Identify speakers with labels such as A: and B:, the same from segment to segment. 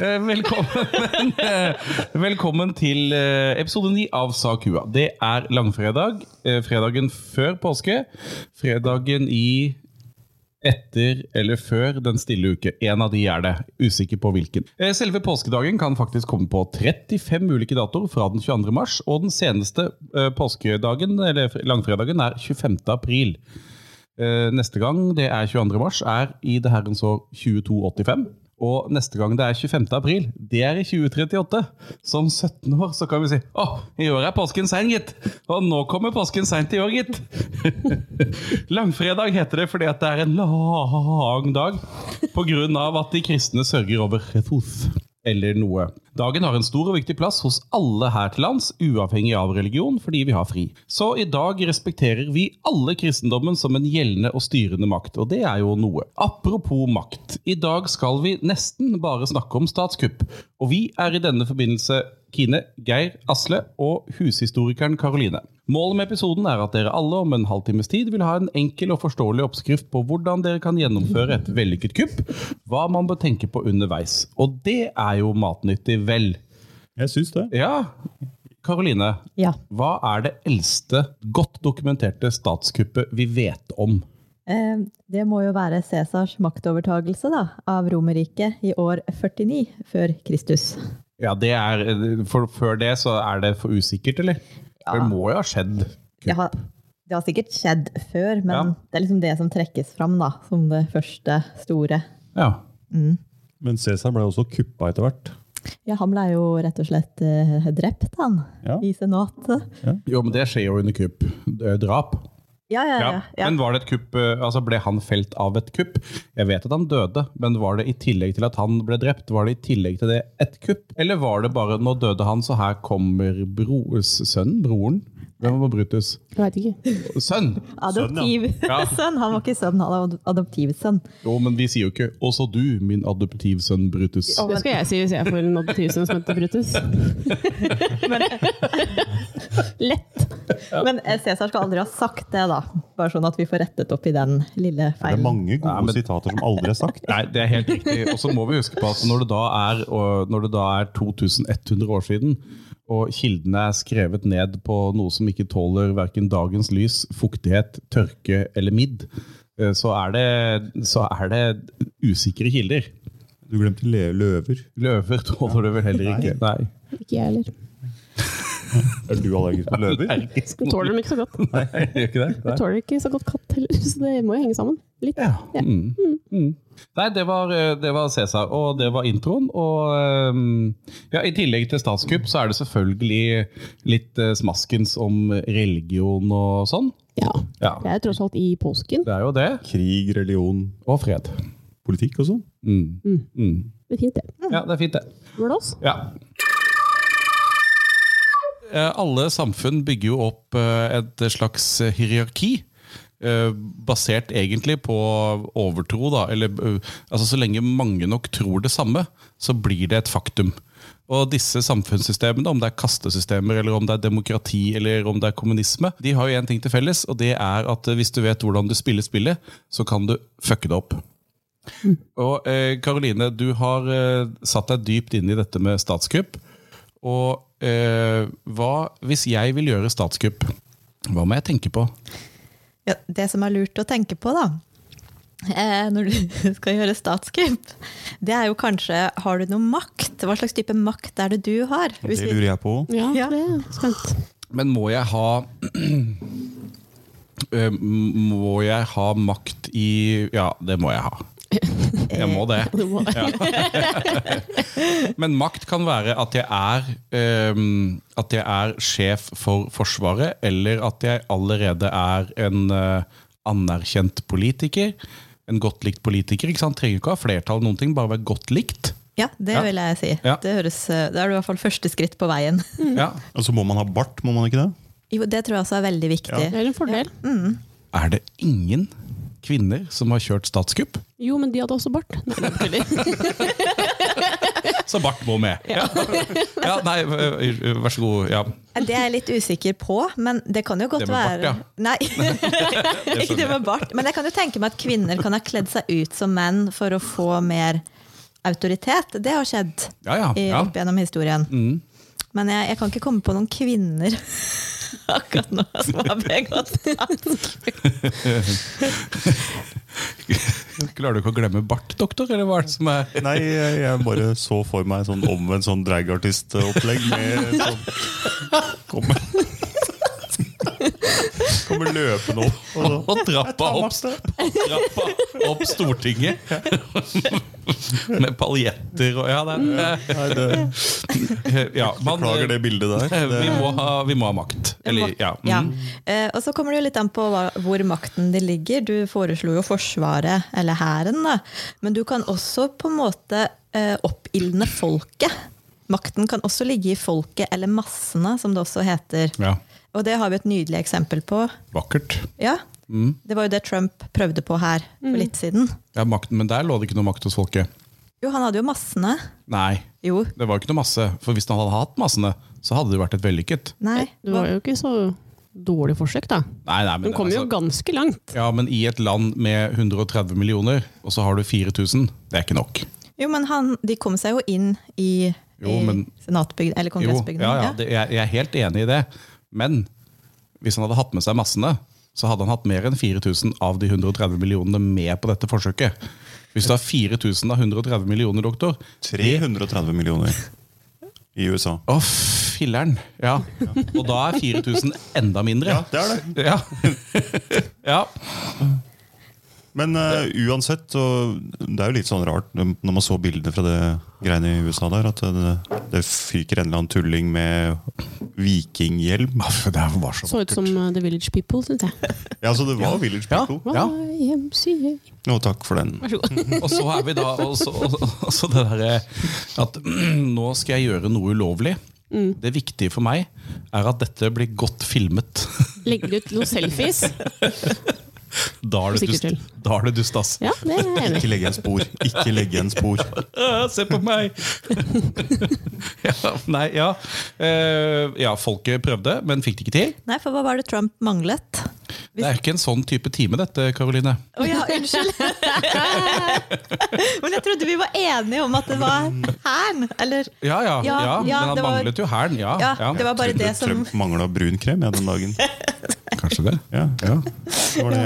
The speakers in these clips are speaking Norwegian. A: Eh, Velkommen, eh, velkommen til eh, episode 9 av Sa kua. Det er langfredag. eh, Fredagen før påske. Fredagen i etter eller før den stille uke. En av de er det. Usikker på hvilken. Eh, Selve påskedagen kan faktisk komme på 35 ulike datoer fra den 22. mars, og den seneste eh, påskedagen, eller langfredagen, er 25. april. Eh, Neste gang det er 22. mars, er i det herrens år 2285. Og neste gang det er 25. april, det er i 2038. Som 17 år så kan vi si Å, i år er påsken sein, gitt! Og nå kommer påsken seint i år, gitt! Langfredag heter det fordi at det er en lang dag. På grunn av at de kristne sørger over Jesus. Eller noe. Dagen har en stor og viktig plass hos alle her til lands, uavhengig av religion, fordi vi har fri. Så i dag respekterer vi alle kristendommen som en gjeldende og styrende makt, og det er jo noe. Apropos makt, i dag skal vi nesten bare snakke om statskupp, og vi er i denne forbindelse Kine, Geir, Asle og hushistorikeren Karoline. Målet med episoden er at dere alle om en halvtimes tid vil ha en enkel og forståelig oppskrift på hvordan dere kan gjennomføre et vellykket kupp, hva man bør tenke på underveis. Og det er jo matnyttig, vel?
B: Jeg syns det.
A: Ja, Karoline.
C: Ja.
A: Hva er det eldste godt dokumenterte statskuppet vi vet om?
C: Eh, Det må jo være Cæsars maktovertagelse da, av Romerriket i år 49 før Kristus.
A: Ja, det er, for Før det så er det for usikkert, eller? For det må jo ha skjedd.
C: Det har, det har sikkert skjedd før, men
A: Ja.
C: det er liksom det som trekkes fram da, som det første store.
A: Ja.
B: Men Cæsar ble også kuppa etter hvert.
C: Ja, han ble jo rett og slett eh, drept, han,
B: Ja.
C: i senatet.
A: Jo, men det skjer jo under kupp. Det er Drap.
C: Ja, ja, ja.
A: Ja.
C: ja.
A: Men var det et kupp, eh, altså ble han felt av et kupp? Jeg vet at han døde, men var det i tillegg til at han ble drept, var det i tillegg til det et kupp? Eller var det bare nå døde han, så her kommer bro, sønnen? Broren? Hvem var Brutus?
D: Jeg vet ikke.
A: Sønn!
C: Adoptiv sønn,
A: Ja.
C: Han var ikke sønn, han var adoptivsønn.
A: Jo, men vi sier jo ikke 'også du, min adoptivsønn Brutus'.
D: Det skal jeg si hvis jeg får en adoptivsønn som heter Brutus.
C: Lett! Men eh, Cæsar skal aldri ha sagt det, da. Bare sånn at vi får rettet opp i den lille
B: Det er
C: feilen.
B: mange gode
A: Nei, men-
B: sitater som aldri er sagt.
A: Nei, det er helt riktig. Og så må vi huske på at når det da er, og når det da er 2100 år siden, og kildene er skrevet ned på noe som ikke tåler verken dagens lys, fuktighet, tørke eller midd, eh, så er det, så er det usikre kilder.
B: Du glemte le- løver.
A: Løver tåler det vel heller ikke. Nei.
D: Ikke jeg heller.
B: Er du allergisk mot løver?
D: Du tåler dem ikke så godt.
A: Nei, gjør ikke det?
D: Du
A: Nei.
D: tåler ikke så godt katt heller, så det må jo henge sammen. Litt.
A: Ja. Mm. Mm. Nei, det var, eh, det var Cæsar, og det var introen. Og ehm, ja, i tillegg til statskupp, så er det selvfølgelig litt eh, smaskens om religion og sånn.
D: Ja.
A: Ja,
D: Jeg er tross alt i påsken.
A: det er jo det.
B: Krig, religion,
A: Og fred.
B: politikk og sånn.
A: Mm.
D: Mm.
A: Mm.
D: Det er fint, det.
A: Ja, det er fint, det.
D: Blås.
A: Ja. Eh, Alle samfunn bygger jo opp eh, et slags eh, hierarki. eh, Basert egentlig på overtro, da. Eller, eh, altså, så lenge mange nok tror det samme, så blir det et faktum. Og disse samfunnssystemene, om det er kastesystemer, eller om det er demokrati eller om det er kommunisme, de har jo én ting til felles, og det er at eh, hvis du vet hvordan du spiller spillet, så kan du fucke det opp. Og eh, Karoline, du har eh, satt deg dypt inn i dette med statskupp. Og eh, hva hvis jeg vil gjøre statskupp? Hva må jeg tenke på?
C: Ja, det som er lurt å tenke på, da, eh, når du skal gjøre statskupp, det er jo kanskje Har du noe makt? Hva slags type makt er det du har?
B: Det
C: Hvis vi,
B: lurer jeg på.
D: Ja,
C: Ja.
D: det er spent.
A: Men må jeg ha Eh, Må jeg ha makt i Ja, det må jeg ha. Jeg må det.
D: Det må-
A: Men makt kan være at jeg er ehm, At jeg er sjef for Forsvaret, eller at jeg allerede er en eh, anerkjent politiker. En godt likt politiker. ikke sant? Trenger ikke å ha flertall, noen ting, bare være godt likt.
C: ja, det
A: Ja.
C: vil jeg si.
A: Ja.
C: Det, høres, eh, da er du i hvert fall første skritt på veien.
A: Ja.
B: Og så Altså, må man ha bart, må man ikke det?
C: Jo, det tror jeg også er veldig viktig.
D: Det er en fordel.
A: Er det ingen kvinner som har kjørt statskupp?
D: Jo, men de hadde også bart. Nei, det er tuller.
A: Så bart må med! Ja, ja nei, eh, vær så god. Ja.
C: Det er jeg litt usikker på, men det kan jo godt
A: Det med bart,
C: være
A: ja.
C: Nei, ikke det med bart. Men jeg kan jo tenke meg at kvinner kan ha kledd seg ut som menn for å få mer autoritet. Det har skjedd
A: Ja, ja.
C: i,
A: ja.
C: opp gjennom historien.
A: Mm.
C: Men jeg, jeg kan ikke komme på noen kvinner akkurat nå som har begått statskupp.
A: Klarer du ikke å glemme bart, doktor? Eller hva er det som er
B: Nei, jeg jeg bare så for meg sånn omvendt sånn dragartistopplegg med sånn Kommer Kommer løpende opp. Og sånn. så.
A: Og trappa
B: tar
A: opp, trappa opp Stortinget! Med paljetter og Ja, det er
B: Nei, det,
A: ja, man, eh,
B: beklager det bildet der.
A: Vi
B: Det,
A: må ha, vi må ha makt. Eller, ja. mm.
C: Ja. Eh, og så kommer det jo litt an på hva, hvor makten det ligger. Du foreslo jo Forsvaret, eller Hæren, da. Men du kan også på en måte eh, oppildne folket. Makten kan også ligge i folket, eller massene, som det også heter.
A: ja.
C: Og det har vi et nydelig eksempel på.
A: Vakkert.
C: Ja,
A: Mm.
C: Det var jo det Trump prøvde på her for litt siden.
A: Ja, makten, men der lå det ikke noe makt hos folket.
C: Jo, han hadde jo massene.
A: Nei,
C: Jo,
A: det var ikke noe masse. For hvis han hadde hatt massene, så hadde det vært et vellykket.
C: nei.
D: Det var jo ikke så dårlig forsøk, da.
A: Nei, nei, men
D: Den kom jo
A: altså-
D: ganske langt.
A: Ja, men i et land med 130 millioner, og så har du 4000, det er ikke nok.
C: Jo, men han, de kom seg jo inn i,
A: Jo, men-
C: i senatbygd, eller
A: Jo,
C: kongressbygningen.
A: ja, ja, det, jeg, jeg er helt enig i det. Men hvis han hadde hatt med seg massene, så hadde han hatt mer enn 4000 av de 130 millionene med på dette forsøket. Hvis du har 4000 av 130 millioner, doktor
B: 330 millioner i USA.
A: Å, filleren! Ja. Og da er 4000 enda mindre.
B: Ja, det er det.
A: Ja. ja.
B: Men eh, uansett, så det er jo litt sånn rart når man så bildene fra det greiene i USA der, at det, det fyker en eller annen tulling med vikinghjelm.
A: Det var
D: Så ut som eh, The Village People, syns jeg.
B: Ja, så det var Village
A: Ja.
B: People.
A: Ja.
D: YMCA.
B: Å, takk for den.
D: Vær så god.
A: Og så er vi da og så- og så det derre at nå skal jeg gjøre noe ulovlig. Det viktige for meg er at dette blir godt filmet.
D: Legger ut noen selfies.
A: Da er det,
D: Sikkert
A: dust,
D: til.
A: da er det dust, ass.
D: Ja, det er jeg enig i.
B: Ikke legge en spor. Ikke legge en spor.
A: «Æ, Ah, Se på meg! ja, nei, ja. Eh, ja, folket prøvde, men fikk det ikke til.
C: Nei, for hva var det Trump manglet?
A: Det er ikke en sånn type time, dette, Karoline.
C: Å ja, unnskyld! men jeg trodde vi var enige om at det var hæren, eller?
A: Ja, ja, ja,
C: Ja, ja,
A: men han
C: det var-
A: manglet jo hæren. Ja,
C: Ja, det var bare
B: Trodde
C: det som
B: Trump mangla brunkrem ja, den dagen.
A: Kanskje det.
B: Ja, ja. Det var det.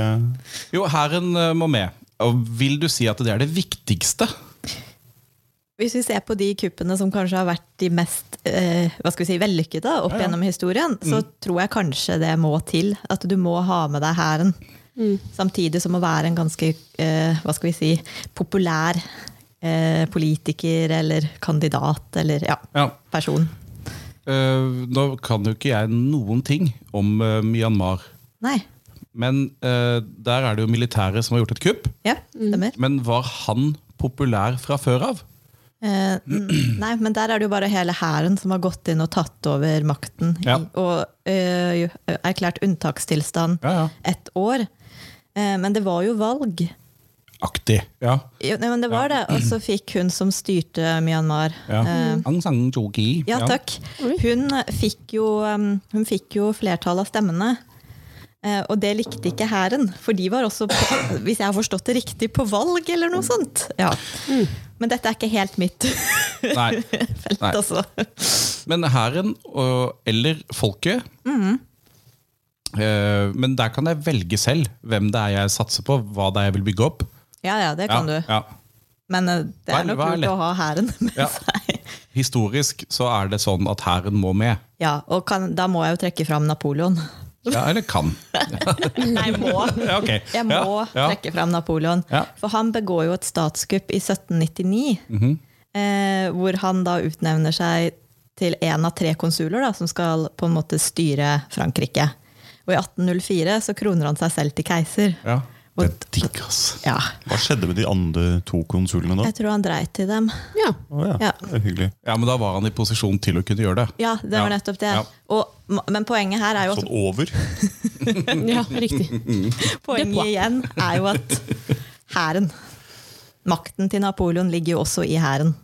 A: Jo, hæren eh, må med. Og vil du si at det er det viktigste?
C: Hvis vi ser på de kuppene som kanskje har vært de mest eh, hva skal vi si, vellykkede opp
A: ja. Mm.
C: gjennom historien, så tror jeg kanskje det må til. At du må ha med deg hæren.
A: Mm.
C: Samtidig som å være en ganske eh, hva skal vi si, populær eh, politiker eller kandidat eller ja,
A: Ja.
C: person.
A: Eh, nå kan jo ikke jeg noen ting om eh, Myanmar.
C: Nei.
A: Men eh, der er det jo militæret som har gjort et kupp.
C: Ja,
A: Mm.
C: stemmer.
A: Men var han populær fra før av?
C: Eh, n- nei, men der er det jo bare hele hæren som har gått inn og tatt over makten.
A: Ja.
C: I, og eh, jo, erklært unntakstilstand
A: Ja, ja.
C: ett år. Eh, men det var jo valg.
A: Aktig. Ja.
C: Jo, nei, men det var det. Og så fikk hun som styrte Myanmar
A: ja.
C: eh,
A: Aung San Suu Kyi.
C: Ja, takk.
D: Oi.
C: Hun fikk jo, um, hun fikk jo flertall av stemmene. Eh, og det likte ikke hæren, for de var også, på, hvis jeg har forstått det riktig, på valg eller noe sånt. Ja. Men dette er ikke helt mitt
A: Nei.
C: felt,
A: Nei.
C: altså.
A: Men hæren og- eller folket
C: Mm-hmm.
A: eh, Men der kan jeg velge selv hvem det er jeg satser på, hva det er jeg vil bygge opp.
C: Ja ja, det kan du.
A: Ja.
C: Men eh, det
A: Hva er-
C: er nok
A: hva er
C: lurt
A: lett?
C: å ha hæren med
A: Ja.
C: seg.
A: Historisk så er det sånn at hæren må med.
C: Ja, og kan, da må jeg jo trekke fram Napoleon.
A: Ja, eller kan.
C: Nei, må.
A: Ja, ok.
C: Jeg må
A: ja, ja.
C: trekke fram Napoleon.
A: Ja.
C: For han begår jo et statskupp i 1799.
A: Mhm.
C: eh, hvor han da utnevner seg til en av tre konsuler da, som skal på en måte styre Frankrike. Og i 1804 så kroner han seg selv til keiser.
A: Ja.
C: Og-
A: Det er digg, ass.
C: Ja,
B: Hva skjedde med de andre to konsulene da?
C: jeg tror han dreit i dem.
D: Ja.
B: Å
C: Ja.
B: ja, det er hyggelig.
A: Ja, men da var han i posisjon til å kunne gjøre det.
C: Ja, det var
A: Ja,
C: nettopp det.
A: ja.
C: Og, men poenget her er jo at
B: Sånn over.
D: ja, riktig.
C: Poenget
D: Depå.
C: igjen er jo at hæren Makten til Napoleon ligger jo også i hæren.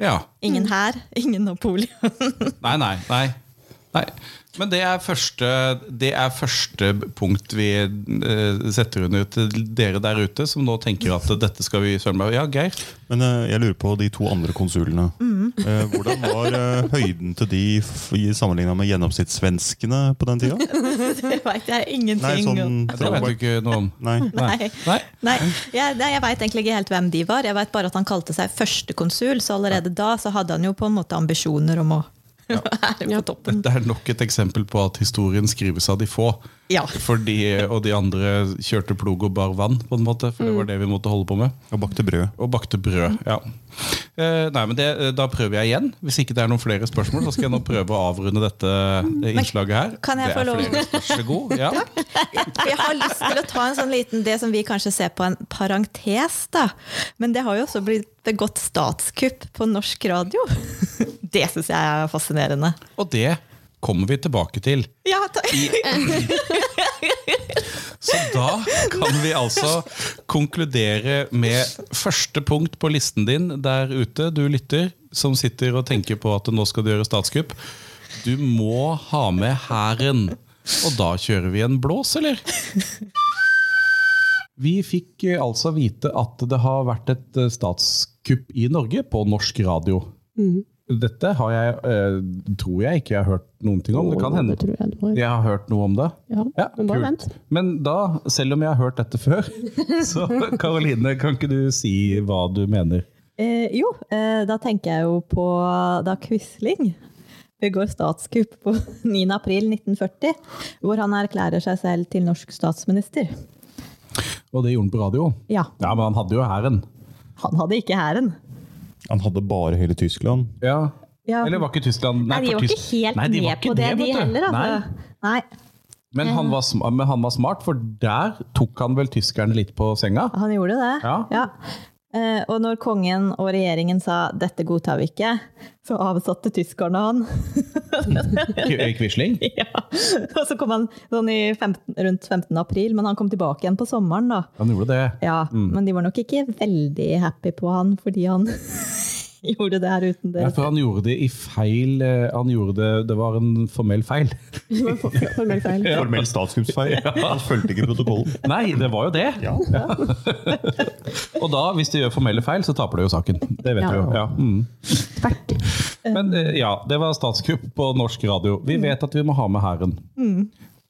A: Ja.
C: Mm. Ingen hær, ingen Napoleon.
A: Nei, nei, nei. Nei. Men det er første, det er første punkt vi eh, setter under til dere der ute, som nå tenker at dette skal vi søren meg Ja, Geir?
B: Men eh, jeg lurer på de to andre konsulene.
C: Mm.
B: Eh, hvordan var eh, høyden til de f- i sammenligna med gjennomsnittssvenskene på den tida?
C: Det veit jeg
B: Nei,
C: ingenting om.
B: sånn
A: Det vet du ikke noe om.
B: Nei.
C: Nei.
A: Nei?
C: Nei, jeg, nei, jeg veit egentlig ikke helt hvem de var. Jeg veit bare at han kalte seg førstekonsul, så allerede da så hadde han jo på en måte ambisjoner om å være på toppen.
A: Dette er nok et eksempel på at historien skrives av de få.
C: Ja.
A: Fordi, og de andre kjørte plog og bar vann, på en måte, for det
C: Mm.
A: var det vi måtte holde på med.
B: Og bakte brød.
A: Og bakte brød. ja. Eh, nei, men det, eh, Da prøver jeg igjen. Hvis ikke det er noen flere spørsmål, så skal jeg nå prøve å avrunde dette eh, innslaget her.
C: kan jeg
A: det
C: få
A: er
C: lov?
A: flere spørsmål. Vær så god. Ja.
C: For jeg har lyst til å ta en sånn liten det som vi kanskje ser på en parentes, da. Men det har jo også blitt begått statskupp på norsk radio. Det syns jeg er fascinerende.
A: Og det kommer vi tilbake til.
C: Ja, ta-
A: Så da kan vi altså konkludere med første punkt på listen din der ute, du lytter, som sitter og tenker på at nå skal du gjøre statskupp. Du må ha med hæren. Og da kjører vi en blås, eller? Vi fikk eh, altså vite at det har vært et eh, statskupp i Norge på norsk radio.
D: Mm.
A: Dette har jeg, eh, tror jeg ikke jeg har hørt noen ting om. Det kan hende.
D: Det tror jeg det var.
A: Jeg har hørt noe om det.
D: Ja, men bare
A: kult.
D: vent.
A: Men da, selv om jeg har hørt dette før, så Karoline, kan ikke du si hva du mener?
C: Eh, jo, eh, da tenker jeg jo på da Quisling begår statskupp på 9. april 1940, hvor han erklærer seg selv til norsk statsminister.
A: Og det gjorde han på radio.
C: Ja,
A: Ja, men han hadde jo hæren.
C: han hadde ikke hæren.
B: Han hadde bare hele Tyskland.
A: Ja.
C: Ja.
A: Eller var ikke Tyskland
C: Nei, de
A: for
C: var ikke
A: Tysk-
C: helt
A: Nei, de var
C: med
A: ikke
C: på det, de
A: vet du.
C: heller.
A: Nei.
C: Altså. Nei.
A: Men, han var, sm- men han var smart, for der tok han vel tyskerne litt på senga.
C: Han gjorde det.
A: Ja.
C: Eh, og når kongen og regjeringen sa 'dette godtar vi ikke', så avsatte tyskerne han.
A: K- eh, Quisling.
C: ja. Og så kom han sånn i 15, rundt 15. april, men han kom tilbake igjen på sommeren, da.
A: Han gjorde det.
C: Ja,
A: Mm.
C: men de var nok ikke veldig happy på han fordi han gjorde det her uten
A: Ja,
C: deres
A: for han gjorde det i feil eh, Han gjorde det Det var en formell feil.
D: Det var for- for- Formell feil.
B: Formell statskuppsfeil. Han fulgte ikke protokollen.
A: Nei, det var jo det!
B: Ja.
A: Og da, hvis de gjør formelle feil, så taper de jo saken. Det vet
D: Ja.
A: du jo. Ja. Mm.
D: Tvert.
A: Men eh, ja, det var statskupp på norsk radio. Vi vet at vi må ha med hæren.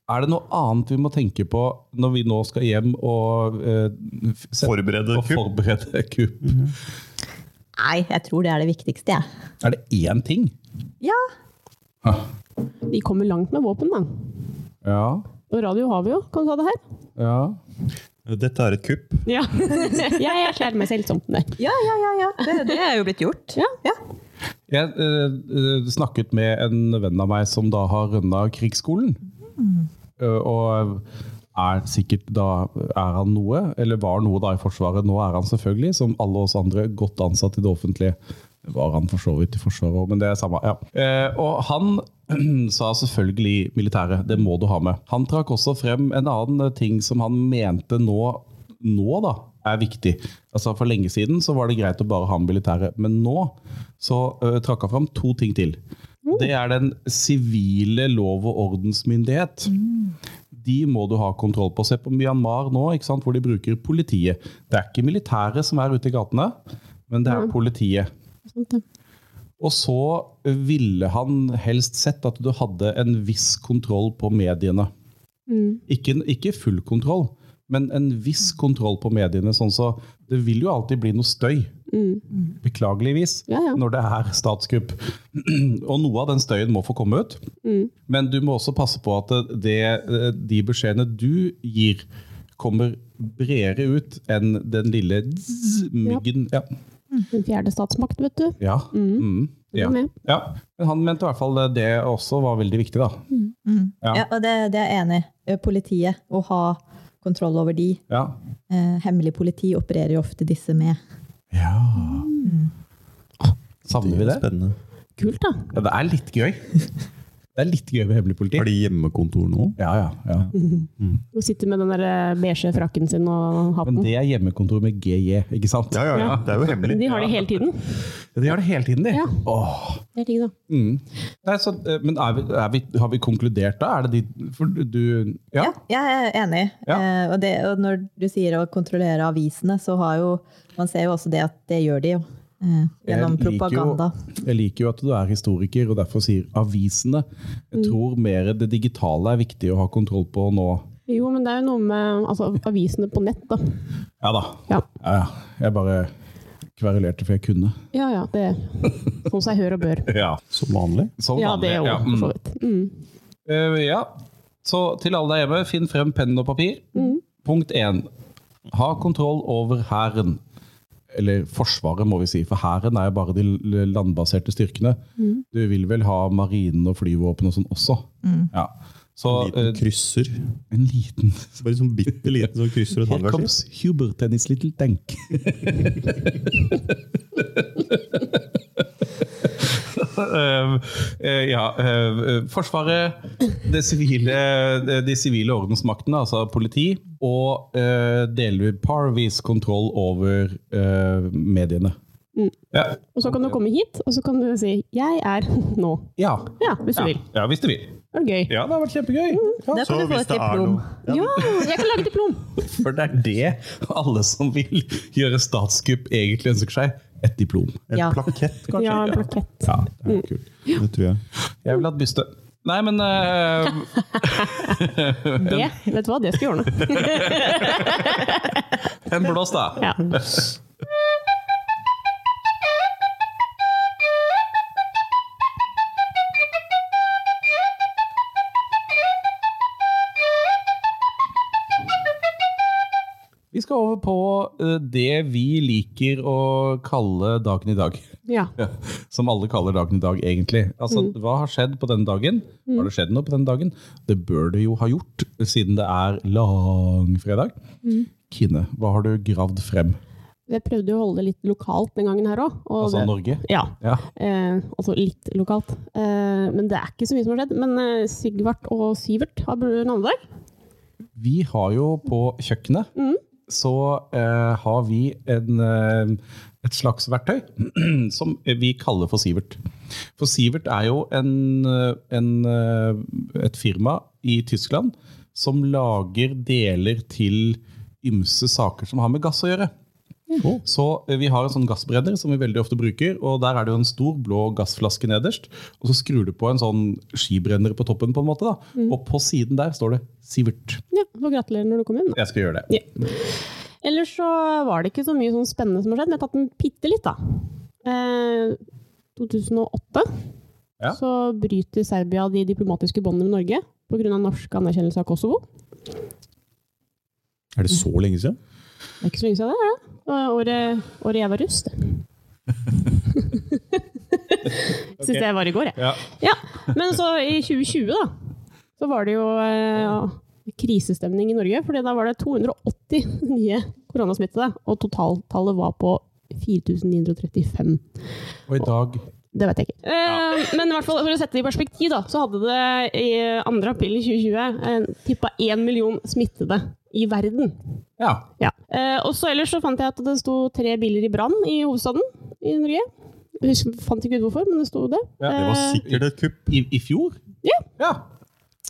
A: Er det noe annet vi må tenke på når vi nå skal hjem og eh, f- sette-
B: Forberede
A: og
B: kupp. Mm.
A: forberede kupp?
C: Nei, jeg tror det er det viktigste, jeg.
A: Er det én ting?
C: Ja.
D: Vi kommer langt med våpen, da.
A: Ja.
D: Og radio har vi jo. Kan du ta det her?
A: ja.
B: Dette er et kupp.
D: Ja. Jeg erklærer meg selv som det.
C: Ja, ja, ja. ja. Det, det er jo blitt gjort.
D: Ja.
C: Ja.
A: Jeg eh, eh, snakket med en venn av meg som da har rønna krigsskolen. Eh, og er sikkert da er han noe, eller var noe da i Forsvaret. Nå er han selvfølgelig, som alle oss andre, godt ansatt i det offentlige. Var han for så vidt i Forsvaret òg, men det er samme. ja. Eh, og han sa selvfølgelig militæret, det må du ha med. Han trakk også frem en annen eh, ting som han mente nå, nå da, er viktig. Altså For lenge siden så var det greit å bare ha med militæret, men nå så eh, trakk han frem to ting til. Det er den sivile lov- og ordensmyndighet. De må du ha kontroll på. Se på Myanmar nå, ikke sant? hvor de bruker politiet. Det er ikke militæret som er ute i gatene, men det er politiet. Og så ville han helst sett at du hadde en viss kontroll på mediene.
D: Mm.
A: Ikke, ikke full kontroll, men en viss kontroll på mediene. sånn så Det vil jo alltid bli noe støy. Beklageligvis.
D: Mm. Ja, ja.
A: Når det er statskupp. Og noe av den støyen må få komme ut.
D: Mm.
A: Men du må også passe på at det, eh, de beskjedene du gir, kommer bredere ut enn den lille zzz, myggen. Ja.
D: Den fjerde statsmakt, vet du.
A: Ja. Mm.
D: er
A: ja.
D: med.
A: ja. Men han mente i hvert fall det også var veldig viktig, da. Ja.
C: Ja, og det, det er jeg enig i. Eh, Politiet, å ha kontroll over de.
A: Ja.
C: Eh, hemmelig politi opererer jo ofte disse med.
A: ja. Mm. Savner vi det?
B: Spennende.
D: Kult, da.
A: Ja, det er litt gøy. Det er litt gøy med hemmelig politi.
B: Har de hjemmekontor nå?
A: Ja, ja, ja.
D: Hun sitter med den der eh, beige frakken sin og
A: Men
D: hatten.
A: det er hjemmekontor med GJ, ikke sant?
B: ja. Det er jo hemmelig.
D: De har det hele tiden.
A: De har det hele tiden, de.
D: Ja.
A: Åh.
D: Det er ting, da.
A: Mm. Nei, så, eh, men er vi, er vi, har vi konkludert da? Er det de For du Ja.
C: Ja, jeg er enig.
A: Ja.
C: Eh, og, det, og når du sier å kontrollere avisene, så har jo Man ser jo også det at det gjør de jo. Eh, gjennom
A: Jeg liker jo-
C: propaganda.
A: Jeg liker jo at du er historiker og derfor sier avisene. Jeg
D: Mm.
A: tror mer det digitale er viktig å ha kontroll på nå.
D: Jo, men det er jo noe med altså, avisene på nett, da.
A: Ja da.
D: Ja,
A: Ja, ja. Jeg bare kverulerte for jeg kunne.
D: ja. ja det Sånn seg hør og bør.
A: Ja,
B: Som vanlig.
A: sånn
D: Ja,
A: var
D: det
A: Ja,
D: òg, for så
A: mm.
D: vidt. Mm.
A: Eh, ja. Så til alle der hjemme, finn frem penn og papir. Punkt én. Ha kontroll over hæren. Eller Forsvaret, må vi si, for hæren er jo bare de l- landbaserte styrkene. Du vil vel ha marinen og flyvåpen og sånn også? Ja. Så
B: Liten
A: eh,
B: krysser.
A: en liten
B: Bare sånn bitte liten sånn krysser og et
A: Here
B: handverksliv.
A: comes Hubert and his little tank. Um, eh, ja, eh, Forsvaret, det sivile, de sivile ordensmaktene, altså politi, og eh, delvis parvis kontroll over eh, mediene.
D: Mm.
A: Ja.
D: Og så kan du komme hit, og så kan du si 'jeg er nå'.
A: Ja.
D: Ja, hvis du
A: Ja.
D: vil. Mm,
A: ja, hvis du vil.
D: Det var gøy.
A: Ja, det har vært kjempegøy. Ja,
C: Da kan du få et diplom.
D: Ja, jeg kan lage diplom!
A: for det er det alle som vil gjøre statskupp, egentlig ønsker seg. Et diplom.
B: En
C: Ja.
B: plakett, kanskje.
D: Ja, en plakett.
A: Ja, det er kult.
B: Det tror jeg.
A: Jeg vil ha et byste. Nei, men eh,
D: Det, vet du hva, det skal jeg ordne.
A: en blås, da.
D: Ja.
A: Vi skal over på eh, det vi liker å kalle dagen i dag.
D: ja.
A: Ja, Som alle kaller dagen i dag, egentlig. Altså, Hva har skjedd på denne dagen? Har det skjedd noe på denne dagen? Det bør det jo ha gjort, siden det er langfredag. Kine, hva har du gravd frem?
D: Jeg prøvde jo å holde det litt lokalt den gangen her òg. Og
A: Altså
D: det-
A: Norge?
D: Ja.
A: Ja.
D: Eh, altså litt lokalt. Eh, men det er ikke så mye som har skjedd. Men eh, Sigvart og Sivert har navnedag.
A: Vi har jo på kjøkkenet så eh, har vi en, eh, et slags verktøy som vi kaller for Sivert. For Sivert er jo en, eh, en, eh, et firma i Tyskland som lager deler til ymse saker som har med gass å gjøre. Så eh, vi har en sånn gassbrenner som vi veldig ofte bruker, og der er det jo en stor blå gassflaske nederst, og så skrur du på en sånn skibrenner på toppen på en måte, da. Og på siden der står det Sivert.
D: Ja, så gratulerer når du kom inn. da.
A: Jeg skal gjøre det.
D: Ellers så var det ikke så mye sånn spennende som har skjedd, men jeg har tatt den bitte litt, da. Eh, 2008
A: Ja.
D: så bryter Serbia de diplomatiske båndene med Norge pga. norsk anerkjennelse av Kosovo.
B: Er det så lenge siden?
D: Det er ikke så lenge siden det, er det? Det var Året, året jeg var russ. det. Syns det var i går, jeg.
A: Ja.
D: Ja. Men så i 2020, da, så var det jo eh, krisestemning i Norge. fordi da var det 280 nye koronasmittede, og totaltallet var på 4935.
A: Og i dag
D: Det vet jeg ikke. Eh, Men i hvert fall for å sette det i perspektiv, da, så hadde det i 2. april i 2020 tippa 1 million smittede i verden.
A: Ja.
D: Ja. Eh, og så ellers så fant jeg at det sto tre biler i brann i hovedstaden i Norge. Jeg husker, fant ikke ut hvorfor, men det sto det.
A: Ja,
B: Det var sikkert et kupp.
A: I, i fjor?
D: Ja.
A: ja.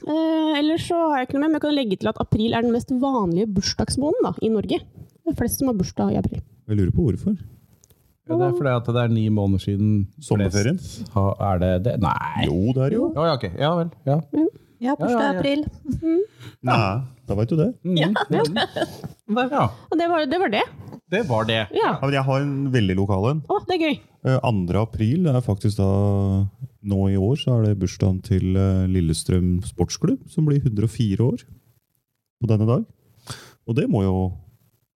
D: Eh, ellers så har jeg ikke noe mer, men jeg kan legge til at april er den mest vanlige bursdagsmåneden da, i Norge. Det er flest som har bursdag i april.
B: Jeg lurer på hvorfor.
A: Ja, Det er fordi at det er ni måneder siden
B: Sommerferien?
A: flest har- Er det det? Nei.
B: Jo, det er det jo.
A: Ja, ja, ok. Ja vel. Ja.
C: Ja, 1.
A: Ja, ja, ja.
C: april.
B: Nei, da veit du det.
A: Mm. Mm. ja.
D: Og det var det. Var det.
A: Det var det.
D: Ja.
B: Ja, men jeg har en veldig lokal en.
D: Å, det er gøy!
B: Eh, 2. april er faktisk da Nå i år så er det bursdagen til eh, Lillestrøm Sportsklubb, som blir 104 år på denne dag. Og det må jo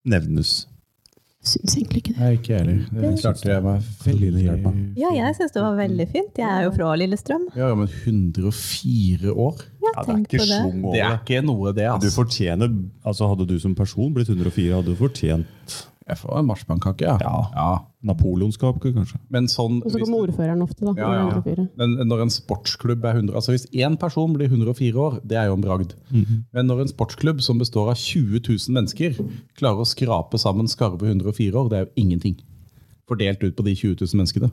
B: nevnes.
D: Syns egentlig ikke det.
A: Nei, ikke jeg heller. Det klarte jeg meg veldig hjelp av.
C: Ja, jeg syns
B: Mm.
C: det var veldig fint. Jeg er jo fra Lillestrøm.
A: Ja, ja, men 104 år?
C: Ja,
B: Ja, det er
C: tenk
B: ikke
C: på det.
B: schwung over
A: Det er
B: det.
A: ikke noe, det.
B: Du
A: Altså.
B: fortjener, altså Hadde du som person blitt 104, hadde du fortjent
A: Jeg får en marsipankake, ja.
B: Ja.
A: ja.
B: napoleonskapet, kanskje.
A: Men sånn
D: Og så
A: hvis-
D: kommer ordføreren ofte, da.
A: Ja, ja. Men når en sportsklubb er 100 Altså Hvis én person blir 104 år, det er jo en bragd. Men når en sportsklubb som består av 20 000 mennesker, klarer å skrape sammen skarve 104 år, det er jo ingenting. fordelt ut på de 20 000 menneskene.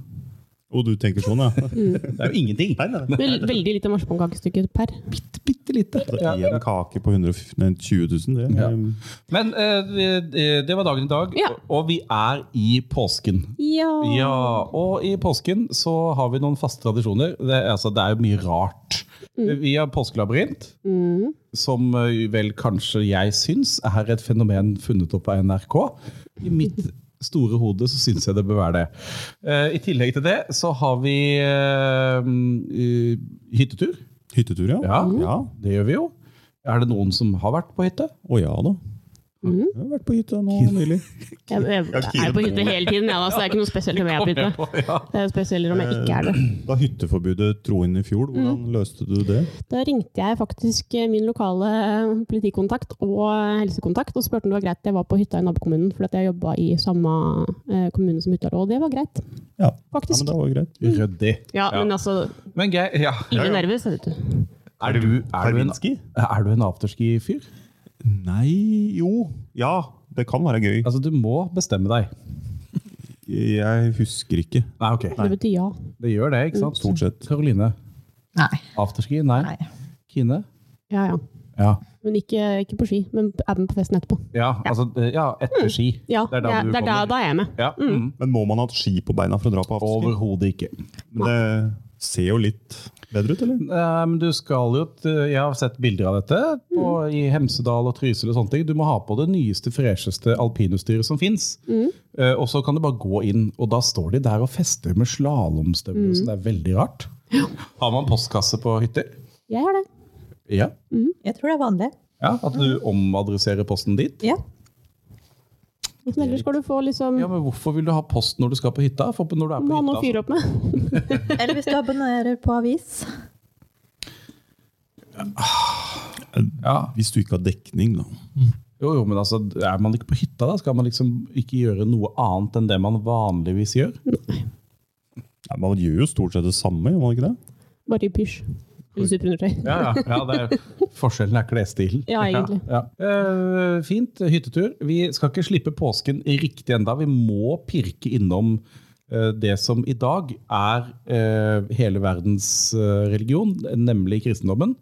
E: Og du tenker sånn, ja.
A: Det er jo ingenting.
E: Nei, nei, nei.
D: Vel- Veldig lite marsipankakestykke per.
A: Bitte, bitte lite.
E: Altså, Én kake på 120 000, det
A: Ja.
E: er um,
A: Men eh, det- det var dagen i dag,
D: Ja.
A: og- og vi er i påsken.
D: Ja.
A: Ja, og i påsken så har vi noen faste tradisjoner. Det, er- altså, det er jo mye rart. Vi har påskelabyrint,
D: Mm.
A: som eh, vel kanskje jeg syns er et fenomen funnet opp av NRK. I mitt store hode så syns jeg det bør være det. Eh, I tillegg til det så har vi eh, mm, eh, hyttetur.
E: hyttetur, ja.
A: Ja,
E: Ja.
A: det gjør vi jo. Er det noen som har vært på hytte?
E: Å ja da. Jeg har vært på hytta nå nylig.
D: Jeg, jeg, jeg er på hytte hele tiden, ja, da, så det er ikke noe spesielt om jeg er på hytte.
A: Ja.
D: Det er spesielt om jeg ikke er det.
E: Da hytteforbudet tro inn i fjor, hvordan løste du det?
D: Da ringte jeg faktisk eh, min lokale politikontakt og helsekontakt og spurte om det var greit at jeg var på hytta i nabokommunen, fordi at jeg jobba i samme eh, kommune som hytta lå, og det var greit,
E: Ja, ja men
D: faktisk.
E: det var jo greit.
A: Ryddig.
D: Mm. Ja, men altså,
A: Men Geir, ja.
D: ingen nervøs, vet du.
A: er, du, er, du en,
E: Karvinski?
A: er du en afterski-fyr?
E: Nei Jo. Ja, det kan være gøy.
A: Altså, du må bestemme deg.
E: Jeg husker ikke,
A: Nei, ok.
D: Det betyr ja.
A: Det gjør det, ikke sant?
E: stort sett.
A: Karoline.
C: Nei.
A: Afterski? Nei.
C: Nei.
A: Kine?
D: Ja, ja.
A: Ja.
D: Men ikke, ikke på ski, men er med på festen etterpå.
A: Ja, altså, ja etter ski.
D: Mm. Ja, det er
A: du
D: da, det er da,
A: kommer.
D: da er jeg med.
A: Ja. Mm.
E: Men må man ha hatt ski på beina for å dra på afterski?
A: Overhodet ikke.
E: Men Det ser jo litt bedre ut, eller?
A: Eh, Men du skal jo t- Jeg har sett bilder av dette på,
D: Mm.
A: i Hemsedal og Trysil og sånne ting. Du må ha på det nyeste, fresheste alpinutstyret som fins.
D: Mm.
A: Og så kan du bare gå inn, og da står de der og fester med slalåmstøvler.
D: Mm.
A: Så Det er veldig rart. Har man postkasse på hytter?
D: Jeg har det.
A: Ja.
C: Jeg tror det er vanlig.
A: ja. At
D: Mm.
A: du omadresserer posten dit?
C: Ja.
D: Hvordan ellers skal du få liksom
A: Ja, men Hvorfor vil du ha post når du skal på hytta? For når du er
D: Må
A: på
D: ha noe
A: hytta, så
D: å fyre opp med.
A: altså.
C: Eller hvis du abonnerer på avis.
A: ja.
E: Hvis du ikke har dekning, da.
A: Jo, jo, men altså, er man ikke på hytta, da? Skal man liksom ikke gjøre noe annet enn det man vanligvis gjør?
E: Nei, man gjør jo stort sett det samme, gjør man ikke det?
D: Bare i pysj. Eller superundertøy.
A: Ja, ja, ja det er, Forskjellen er klesstilen.
D: Ja, egentlig.
A: Ja, ja. Eh, fint. Hyttetur. Vi skal ikke slippe påsken riktig enda. Vi må pirke innom eh, det som i dag er eh, hele verdens eh, religion, nemlig kristendommen.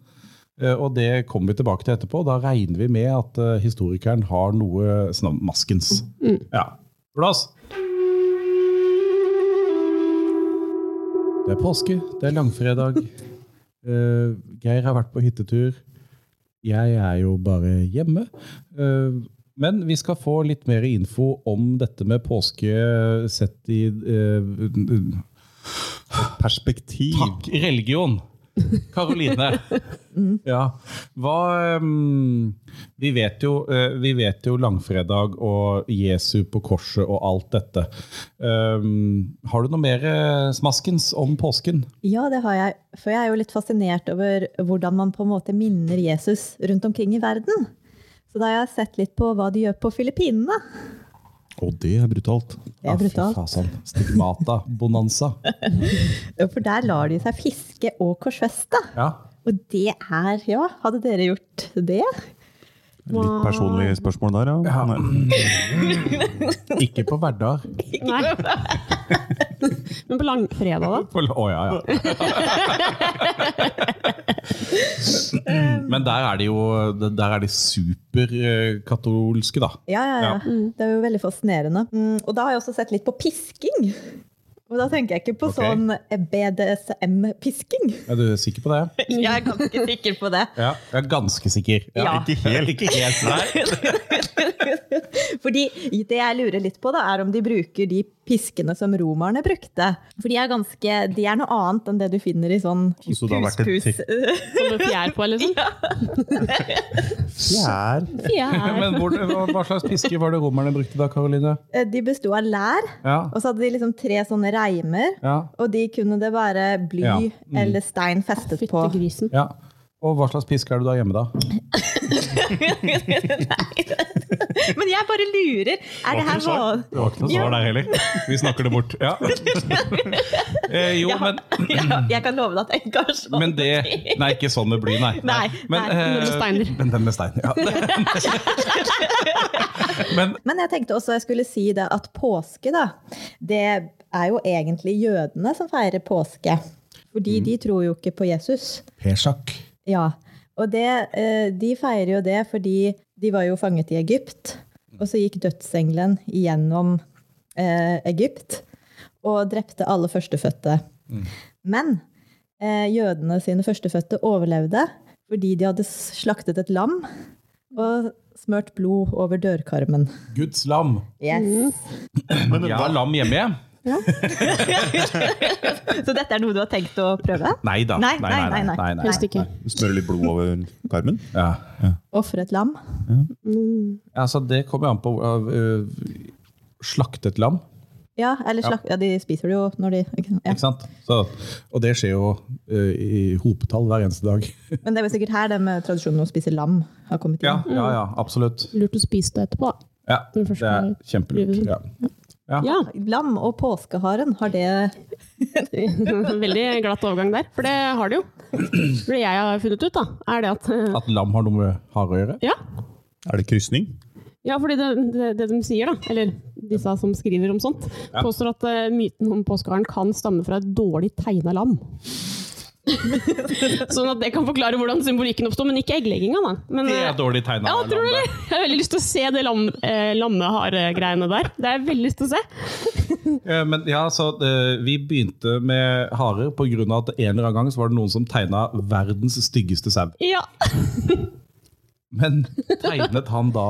A: Eh, og det kommer vi tilbake til etterpå. Da regner vi med at eh, historikeren har noe sånn maskens. Ja. Blås! Det er påske, det er langfredag. Eh, Geir har vært på hyttetur. Jeg er jo bare hjemme. Eh, men vi skal få litt mer info om dette med påske sett i eh,
E: Perspektiv.
A: Takk, religion! Karoline. Ja. Hva eh, vi, vet jo, eh, vi vet jo langfredag og Jesu på korset og alt dette. Eh, har du noe mer eh, smaskens om påsken?
C: Ja, det har jeg. For jeg er jo litt fascinert over hvordan man på en måte minner Jesus rundt omkring i verden. Så da har jeg sett litt på hva de gjør på Filippinene.
E: Og det er brutalt.
C: Det er brutalt.
A: Ja, Ah, fy faen, Stigmata. Bonanza.
C: For der lar de seg fiske og korsfeste.
A: Ja.
C: Og det er Ja, hadde dere gjort det?
E: Litt personlig spørsmål der, ja. Mm. Nei.
A: Ikke på hverdag.
D: Nei. Men på langfredag, da?
A: Å ja, ja. Men der er de jo Der er de superkatolske, da.
C: Ja, ja, ja. Det er jo veldig fascinerende. Mm, og da har jeg også sett litt på pisking. Og da tenker jeg ikke på
A: Ok.
C: sånn BDSM-pisking.
A: Er du sikker på det?
C: Jeg er ganske sikker på det.
A: Ja, Jeg er ganske sikker.
C: Ja.
A: Ikke helt. Ikke helt, nei.
C: Fordi det jeg lurer litt på, da, er om de bruker de piskene som romerne brukte. For de er ganske De er noe annet enn det du finner i sånn
E: Så det har vært en
C: pus-pus.
D: Som med fjær på, liksom?
E: Fjær.
D: Fjær.
A: Men hvor, hva- hva slags pisker var det romerne brukte da, Karoline?
C: Eh, De besto av lær,
A: Ja,
C: og så hadde de liksom tre sånne reimer.
A: ja,
C: Og de kunne det være bly
A: Ja. Mm.
C: eller stein festet på.
D: Fyttegrisen.
A: ja. Og hva slags pisker er du da hjemme, da?
C: Men jeg bare lurer! Er det her van-
A: Det var ikke noe svar der heller. Vi snakker det bort. Ja. Eh, jo,
C: Jeg har-
A: men,
C: Ja, jeg kan love deg at jeg ikke har sånn.
A: men det Nei, ikke sånn med bly, nei.
C: Nei,
A: Men,
C: nei,
A: eh,
D: den
A: Men den
D: med steiner.
A: med stein, ja. Men
C: Men jeg tenkte også jeg skulle si det at påske, da, det er jo egentlig jødene som feirer påske. Fordi de tror jo ikke på Jesus.
F: Pesjak.
C: Ja. Og det, eh, de feirer jo det fordi de var jo fanget i Egypt. Og så gikk dødsengelen igjennom eh, Egypt og drepte alle førstefødte. Men eh, jødene sine førstefødte overlevde fordi de hadde slaktet et lam og smørt blod over dørkarmen.
A: Guds lam.
C: Yes.
B: Men
A: Jeg
B: hva-
A: har lam hjemme, jeg.
C: Så dette er noe du har tenkt å prøve?
A: Nei da.
C: Nei, nei, nei, nei.
D: Helst ikke.
E: Smører litt blod over karmen.
A: Ja.
C: Ofre et lam?
D: Mm.
A: Altså, det kommer an på øh, Slaktet lam,
C: Ja, eller slak ja, de spiser det jo når de ikke- ja.
A: ikke sant? Så, og det skjer jo øh, i hopetall hver eneste dag.
C: Men det er vel sikkert her det med tradisjonen å spise lam har kommet inn.
A: Ja, ja, ja absolutt.
D: Lurt å spise det etterpå, da.
A: Ja,
D: Når du
A: det
D: først
A: er
D: har-
A: kjempelurt. Ja.
D: Ja.
C: Lam og påskeharen, har det
D: Veldig glatt overgang der, for det har det jo. For det jeg har funnet ut, da, er det at eh,
A: At lam har noe med hare å gjøre?
D: Ja,
E: Er det krysning?
D: ja fordi det, det, det de sier, da, eller disse som skriver om sånt, påstår at eh, myten om påskeharen kan stamme fra et dårlig tegna lam. sånn at det kan forklare hvordan symbolikken oppstår, men ikke egglegginga, da. Men,
A: Det
D: eh,
A: er dårlig tegna.
D: Ja, tror du det? Jeg har veldig lyst til å se det lam, eh, lammeharegreiene der. Det har jeg veldig lyst til å se.
A: Eh, Men ja, så eh, Vi begynte med harer pga. at en eller annen gang så var det noen som tegna verdens styggeste sau.
D: Ja.
A: Men tegnet han da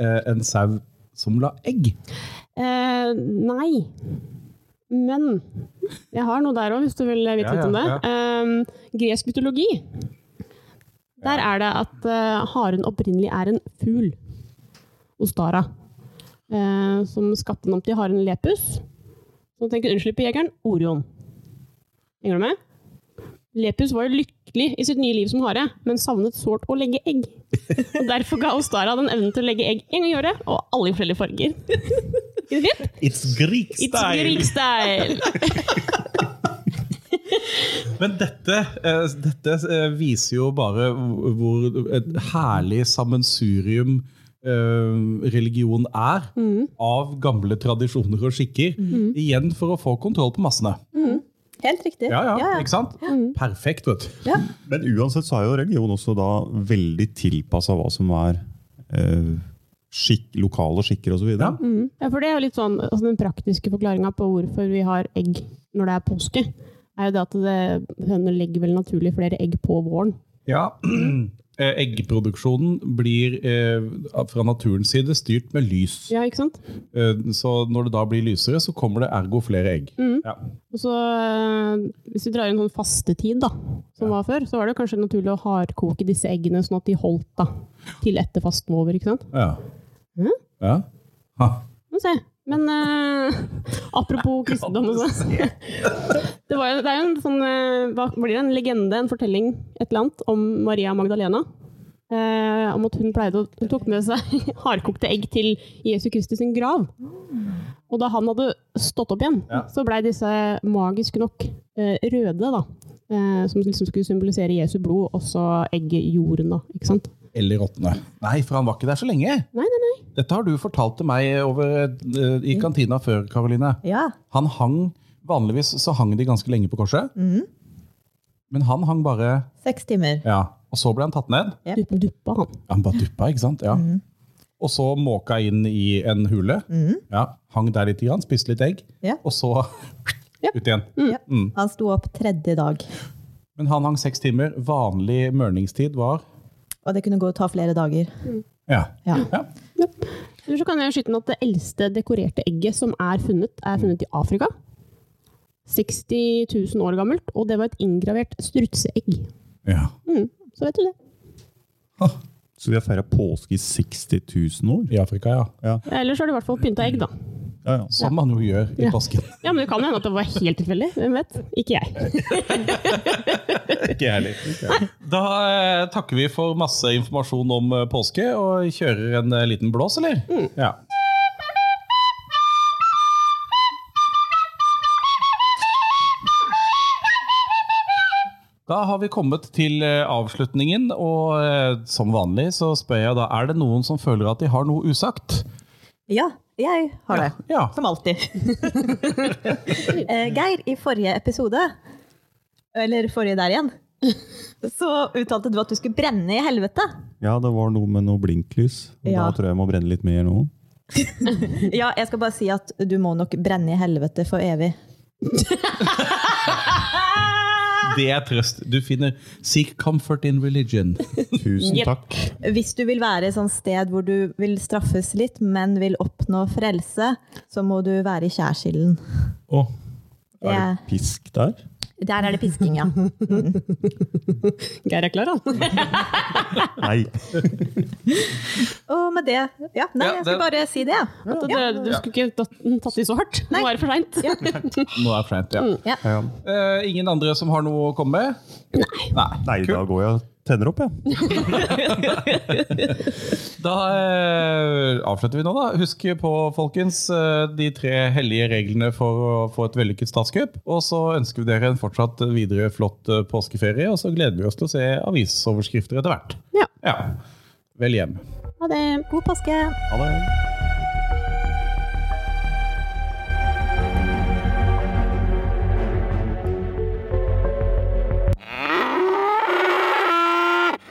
A: eh, en sau som la egg?
D: Eh, nei. Men jeg har noe der òg, hvis du vil vite
A: Ja,
D: litt om det.
A: ja,
D: Eh, gresk mytologi. Der er det at eh, haren opprinnelig er en fugl. Ostara. Eh, som skapte den om til haren Lepus. Som tenker unnskyld på jegeren Orion. Henger du med? Lepus var jo lykkelig i sitt nye liv som hare, men savnet sårt å legge egg. Og Derfor ga Ostara den evnen til å legge egg en gang i året, og alle i forskjellige farger. Ikke det fint?
E: It's Greek
D: It's Greek style!
A: Men dette, eh, dette eh, viser jo bare hvor- hvor et herlig sammensurium eh, religion er.
D: Mm.
A: Av gamle tradisjoner og skikker. Igjen for å få kontroll på massene.
C: Helt riktig.
A: Ja, ja,
C: Ja, ja.
A: ikke sant?
D: Mm.
A: Perfekt, vet du.
C: Ja.
E: Men uansett så er jo religion også da veldig tilpassa hva som er eh, skikk, lokale skikker osv.
A: Ja.
E: videre
D: Mm. Ja, for det er jo litt sånn altså Den praktiske forklaringa på hvorfor vi har egg når det er påske, er jo det at det, høner legger vel naturlig flere egg på våren.
A: Ja. Eh, Eggproduksjonen blir eh, fra naturens side styrt med lys.
D: Ja, ikke sant?
A: Eh, Så når det da blir lysere, så kommer det ergo flere egg.
D: Mm.
A: Ja.
D: Og så eh, Hvis vi drar inn sånn fastetid, da, som var før, så var det kanskje naturlig å hardkoke disse eggene sånn at de holdt da, til etter fasten var over. ikke sant?
A: Ja.
D: Mhm.
A: Ja. Ha.
D: Må se. Men eh, apropos kristendom og sånn. Det, var jo, det er jo en sånn eh, hva blir det, en legende, en fortelling, et eller annet, om Maria Magdalena. Eh, om at hun pleide å hun tok med seg hardkokte egg til Jesu Kristus sin grav. Og da han hadde stått opp igjen,
A: Ja.
D: så blei disse magisk nok eh, røde, da. Eh, som liksom skulle symbolisere Jesu blod, og så eggjorden, da. Ikke sant?
A: Eller råtne. Nei, for han var ikke der så lenge.
D: Nei, nei, nei.
A: Dette har du fortalt til meg over, eh, i kantina før, Karoline.
C: ja.
A: Han hang, vanligvis så hang de ganske lenge på korset. Men han hang bare,
C: Seks timer.
A: ja. Og så ble han tatt ned.
D: Dupp- Duppa han.
A: Han bare duppa, ikke sant? Ja. Og så måka inn i en hule. Ja, hang der litt, grann, spiste litt egg,
C: Ja.
A: og så
D: Ja.
A: ut igjen.
C: Ja. Han sto opp tredje dag.
A: Men han hang seks timer. Vanlig mørningstid var
C: Og det kunne gå og ta flere dager.
A: Ja.
C: Ja.
D: Eller så kan jeg skyte inn at det eldste dekorerte egget som er funnet, er funnet i Afrika. 60 000 år gammelt, og det var et inngravert strutseegg.
A: ja.
D: Mm, så vet du det.
E: Så vi har feira påske i 60 000 år.
A: I Afrika, ja.
D: Ellers har du i hvert fall pynta egg, da.
E: Ja, ja.
A: Som man jo gjør i
D: Ja.
A: påsken.
D: Ja, men det kan hende at det var helt tilfeldig. Hvem vet? Ikke jeg.
A: Ikke jeg heller. Da eh, takker vi for masse informasjon om eh, påske, og kjører en eh, liten blås, eller? Ja. Da har vi kommet til eh, avslutningen, og eh, som vanlig så spør jeg da Er det noen som føler at de har noe usagt?
C: Ja, jeg har det.
A: Ja.
C: Som alltid. Eh, Geir, i forrige episode, eller forrige der igjen, så uttalte du at du skulle brenne i helvete.
B: Ja, det var noe med noe blinklys. og
C: Ja.
B: Da tror jeg jeg må brenne litt mer nå.
C: Ja, jeg skal bare si at du må nok brenne i helvete for evig.
A: Det er trøst. Du finner Seek comfort in religion.
B: Tusen takk.
C: Hvis du vil være et sånt sted hvor du vil straffes litt, men vil oppnå frelse, så må du være i skjærsilden.
B: Å,
C: Det
B: er
C: er-
B: det pisk der?
C: Der er det pisking, ja.
D: Geir er klar, han.
B: Nei.
C: Og med det Ja, nei,
A: Ja,
C: jeg skal
A: det-
C: bare si det, ja.
D: At det- Du skulle ikke tatt, tatt i så hardt. Nå er det for seint.
A: Nå er det flaut, ja.
B: Ja.
A: Eh, ingen andre som har noe å komme med? Nei.
B: Nei, da går jeg og tenner opp, jeg.
A: Da eh, avslutter vi nå, da. Husk på, folkens, eh, de tre hellige reglene for å få et vellykket statskupp. Og så ønsker vi dere en fortsatt videre flott eh, påskeferie, og så gleder vi oss til å se avisoverskrifter etter hvert.
D: Ja.
A: ja. Vel hjem.
D: Ha det.
C: God påske!
B: Ha det.